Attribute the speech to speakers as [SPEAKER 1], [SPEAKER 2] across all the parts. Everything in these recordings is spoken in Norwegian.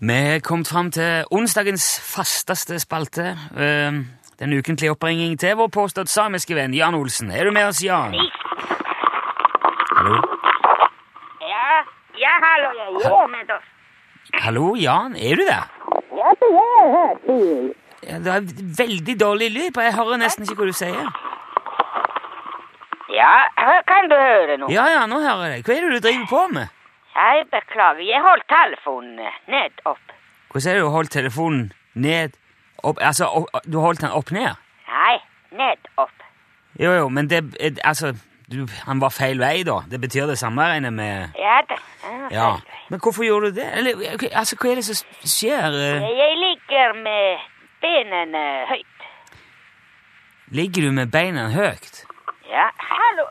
[SPEAKER 1] Vi er kommet fram til onsdagens fasteste spalte. eh, Den ukentlige oppringning til vår påstått samiske venn Jan Olsen. Er du med oss, Jan? Hallo?
[SPEAKER 2] Ja, ja, hallo, jeg er med oss.
[SPEAKER 1] Hallo, Jan? Er du der?
[SPEAKER 2] Ja, det er her, Bil.
[SPEAKER 1] Ja, Det er veldig dårlig lyd på. Jeg hører nesten ikke hva du sier.
[SPEAKER 2] Ja, her kan du høre nå.
[SPEAKER 1] Ja, ja, nå hører jeg deg. Hva er det du driver på med?
[SPEAKER 2] Jeg beklager, jeg holdt telefonen eh, ned opp.
[SPEAKER 1] Hvordan er det du holdt telefonen ned opp Altså, opp, du holdt den opp ned?
[SPEAKER 2] Nei, ned opp.
[SPEAKER 1] Jo, jo, men det eh, Altså, du, han var feil vei, da. Det betyr det samme, regner jeg med?
[SPEAKER 2] Ja, det
[SPEAKER 1] Ja. Men hvorfor gjorde du det? Eller, ok, altså, hva er det som skjer? eh?
[SPEAKER 2] Jeg ligger med benene høyt.
[SPEAKER 1] Ligger du med beina høyt?
[SPEAKER 2] Ja, hallo.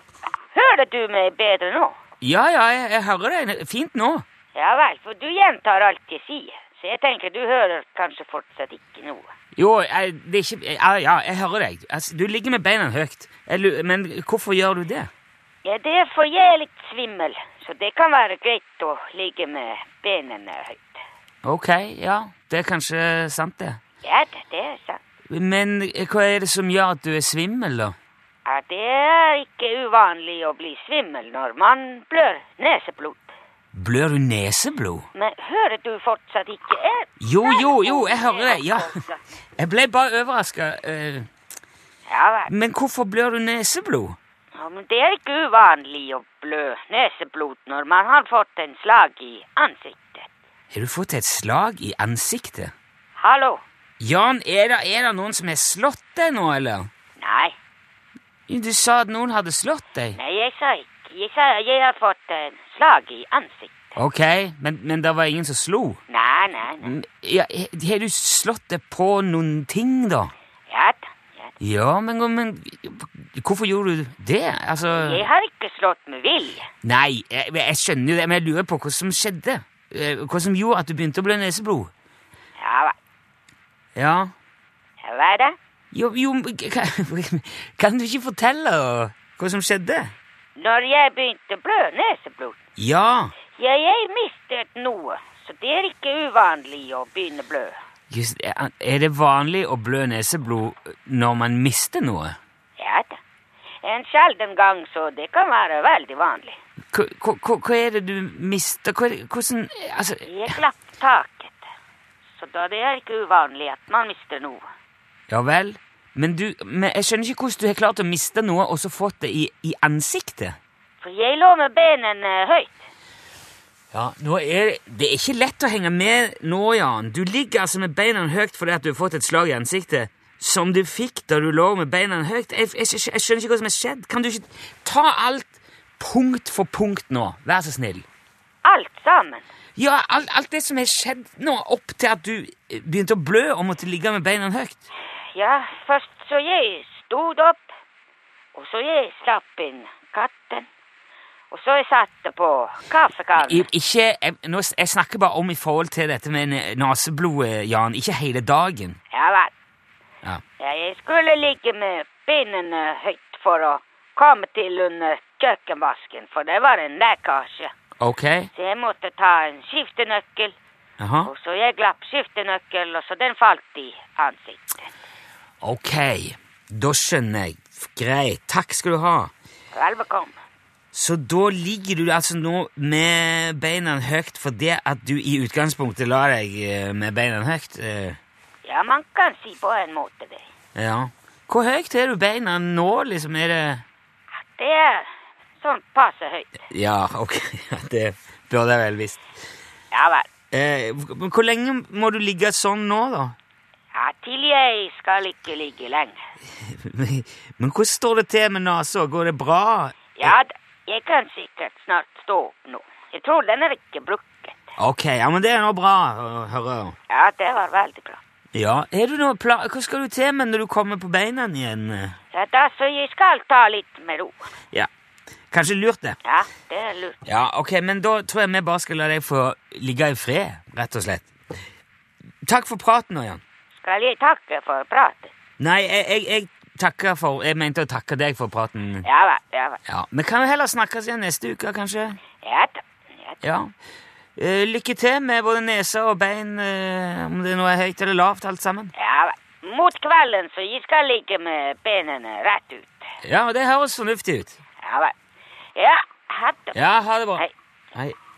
[SPEAKER 2] Hører du meg bedre nå?
[SPEAKER 1] Ja, ja, jeg, jeg hører deg fint nå.
[SPEAKER 2] Ja vel, for du gjentar alt jeg sier. Så jeg tenker du hører kanskje fortsatt ikke noe.
[SPEAKER 1] Jo, jeg, det er ikke Ja, ja jeg hører deg. Altså, du ligger med beina høyt. Jeg lu- men hvorfor gjør du det?
[SPEAKER 2] Ja, det er for jeg er litt svimmel, så det kan være greit å ligge med benene høyt.
[SPEAKER 1] Ok, ja. Det er kanskje sant, det.
[SPEAKER 2] Ja, det, det er sant.
[SPEAKER 1] Men eh, hva er det som gjør at du er svimmel, da?
[SPEAKER 2] Ja, det er ikke uvanlig å bli svimmel når man blør neseblod.
[SPEAKER 1] Blør du neseblod?
[SPEAKER 2] Men hører du fortsatt ikke? Eh,
[SPEAKER 1] Jo,
[SPEAKER 2] nei,
[SPEAKER 1] jo, jo, jeg hører det, ja.
[SPEAKER 2] fortsatt.
[SPEAKER 1] Jeg ble bare overraska. eh,
[SPEAKER 2] Ja vel.
[SPEAKER 1] Men hvorfor blør du neseblod?
[SPEAKER 2] Ja, men det er ikke uvanlig å blø neseblod når man har fått en slag i ansiktet.
[SPEAKER 1] Har du fått et slag i ansiktet?
[SPEAKER 2] Hallo?
[SPEAKER 1] Jan, er det, er det noen som har slått deg nå, eller?
[SPEAKER 2] Nei,
[SPEAKER 1] Du sa at noen hadde slått deg.
[SPEAKER 2] nei, jeg sa ikke. Jeg sa jeg har fått en slag i ansiktet.
[SPEAKER 1] Ok, men, men det var ingen som slo.
[SPEAKER 2] Nei, nei, nei.
[SPEAKER 1] Mm, Ja, he- har du slått deg på noen ting, da?
[SPEAKER 2] Ja da, ja da.
[SPEAKER 1] Ja, men, men hvorfor gjorde du det?
[SPEAKER 2] Jeg
[SPEAKER 1] Altså
[SPEAKER 2] har ikke slått med vilje.
[SPEAKER 1] Nei, jeg, jeg skjønner jo det, men jeg lurer på hva som skjedde. Eh, Hva som gjorde at du begynte å blø neseblod?
[SPEAKER 2] Ja vel.
[SPEAKER 1] Ja.
[SPEAKER 2] Ja, Hva er det?
[SPEAKER 1] Jo, jo men kan, kan du ikke fortelle hva som skjedde?
[SPEAKER 2] Når jeg begynte å blø neseblod
[SPEAKER 1] Ja.
[SPEAKER 2] Ja, jeg mistet noe, så det er ikke uvanlig å begynne blø.
[SPEAKER 1] Just, er er det vanlig å blø neseblod når man mister noe?
[SPEAKER 2] Ja da. En sjelden gang, så det kan være veldig vanlig.
[SPEAKER 1] Hva, hva, hva hva er det du mister? Hva, er det- hvordan Altså
[SPEAKER 2] Jeg glapp taket, så da det er ikke uvanlig at man mister noe.
[SPEAKER 1] Ja vel. Men, du, men jeg skjønner ikke hvordan du har klart å miste noe og så fått det i, i ansiktet.
[SPEAKER 2] For jeg lå med benene høyt.
[SPEAKER 1] Ja, nå er det, det er ikke lett å henge med nå, Jan. Du ligger altså med beina høyt fordi at du har fått et slag i ansiktet. Som du fikk da du lå med beina høyt. Jeg, jeg, skj- jeg skjønner ikke hva som har skjedd. Kan du ikke ta alt punkt for punkt nå? Vær så snill.
[SPEAKER 2] Alt sammen.
[SPEAKER 1] Ja, alt, alt det som har skjedd nå opp til at du eh, begynte å blø og måtte ligge med beina høyt.
[SPEAKER 2] Ja, først så jeg stod opp, og så jeg slapp inn katten, og så jeg satte på
[SPEAKER 1] I-
[SPEAKER 2] kaffekannen.
[SPEAKER 1] Ikke, jeg, nå, s- jeg snakker bare om i forhold til dette med ne- naseblodet, Jan. Ikke hele dagen.
[SPEAKER 2] Ja vel.
[SPEAKER 1] Ja.
[SPEAKER 2] Ja, jeg skulle ligge med benene høyt for å komme til under kjøkkenvasken, for det var en lekkasje.
[SPEAKER 1] Ok?
[SPEAKER 2] Så jeg måtte ta en skiftenøkkel,
[SPEAKER 1] Aha.
[SPEAKER 2] og så jeg glapp skiftenøkkel, og så den falt i ansiktet.
[SPEAKER 1] Ok. Da skjønner jeg. F- Greit. Takk skal du ha.
[SPEAKER 2] Vel bekomme.
[SPEAKER 1] Så da ligger du altså nå med beina høyt fordi at du i utgangspunktet la deg eh, med beina høyt? eh,
[SPEAKER 2] Ja, man kan si på en måte det.
[SPEAKER 1] Ja. Hvor høyt er du beina nå, liksom? Er det
[SPEAKER 2] Det er sånn passe høyt.
[SPEAKER 1] Ja, ok. Det burde jeg vel visst.
[SPEAKER 2] Ja vel.
[SPEAKER 1] Eh, men hvor lenge må du ligge sånn nå, da?
[SPEAKER 2] Ja, til jeg skal ikke ligge lenge.
[SPEAKER 1] Men hvordan står det til med nesa? Går det bra?
[SPEAKER 2] Ja, da, jeg kan sikkert snart stå opp nå. Jeg tror den er ikke brukket.
[SPEAKER 1] Ok, ja, men det er nå bra å høre.
[SPEAKER 2] Ja, det var veldig bra.
[SPEAKER 1] Ja, er du noe pla Hva skal du til med når du kommer på beina igjen?
[SPEAKER 2] Ja, da, så jeg skal ta litt med ro.
[SPEAKER 1] Ja, kanskje lurt det.
[SPEAKER 2] Ja, det er lurt.
[SPEAKER 1] Ja, ok, men da tror jeg vi bare skal la deg få ligge i fred, rett og slett. Takk for praten, Jan.
[SPEAKER 2] Skal jeg takke for praten?
[SPEAKER 1] Nei, jeg, jeg, jeg takker for Jeg mente å takke deg for praten.
[SPEAKER 2] Ja vel, ja vel.
[SPEAKER 1] Ja, Men kan vi heller snakkes igjen neste uke, kanskje?
[SPEAKER 2] Ja da. Ja, da.
[SPEAKER 1] Ja. Eh, lykke til med både nese og bein, eh, om det nå er høyt eller lavt, alt sammen.
[SPEAKER 2] Ja, mot kvelden så jeg skal ligge med benene rett ut.
[SPEAKER 1] Ja, men det høres fornuftig ut.
[SPEAKER 2] Ja vel. Ja, ha det.
[SPEAKER 1] Ja, ha det bra.
[SPEAKER 2] Hei.
[SPEAKER 1] Hei.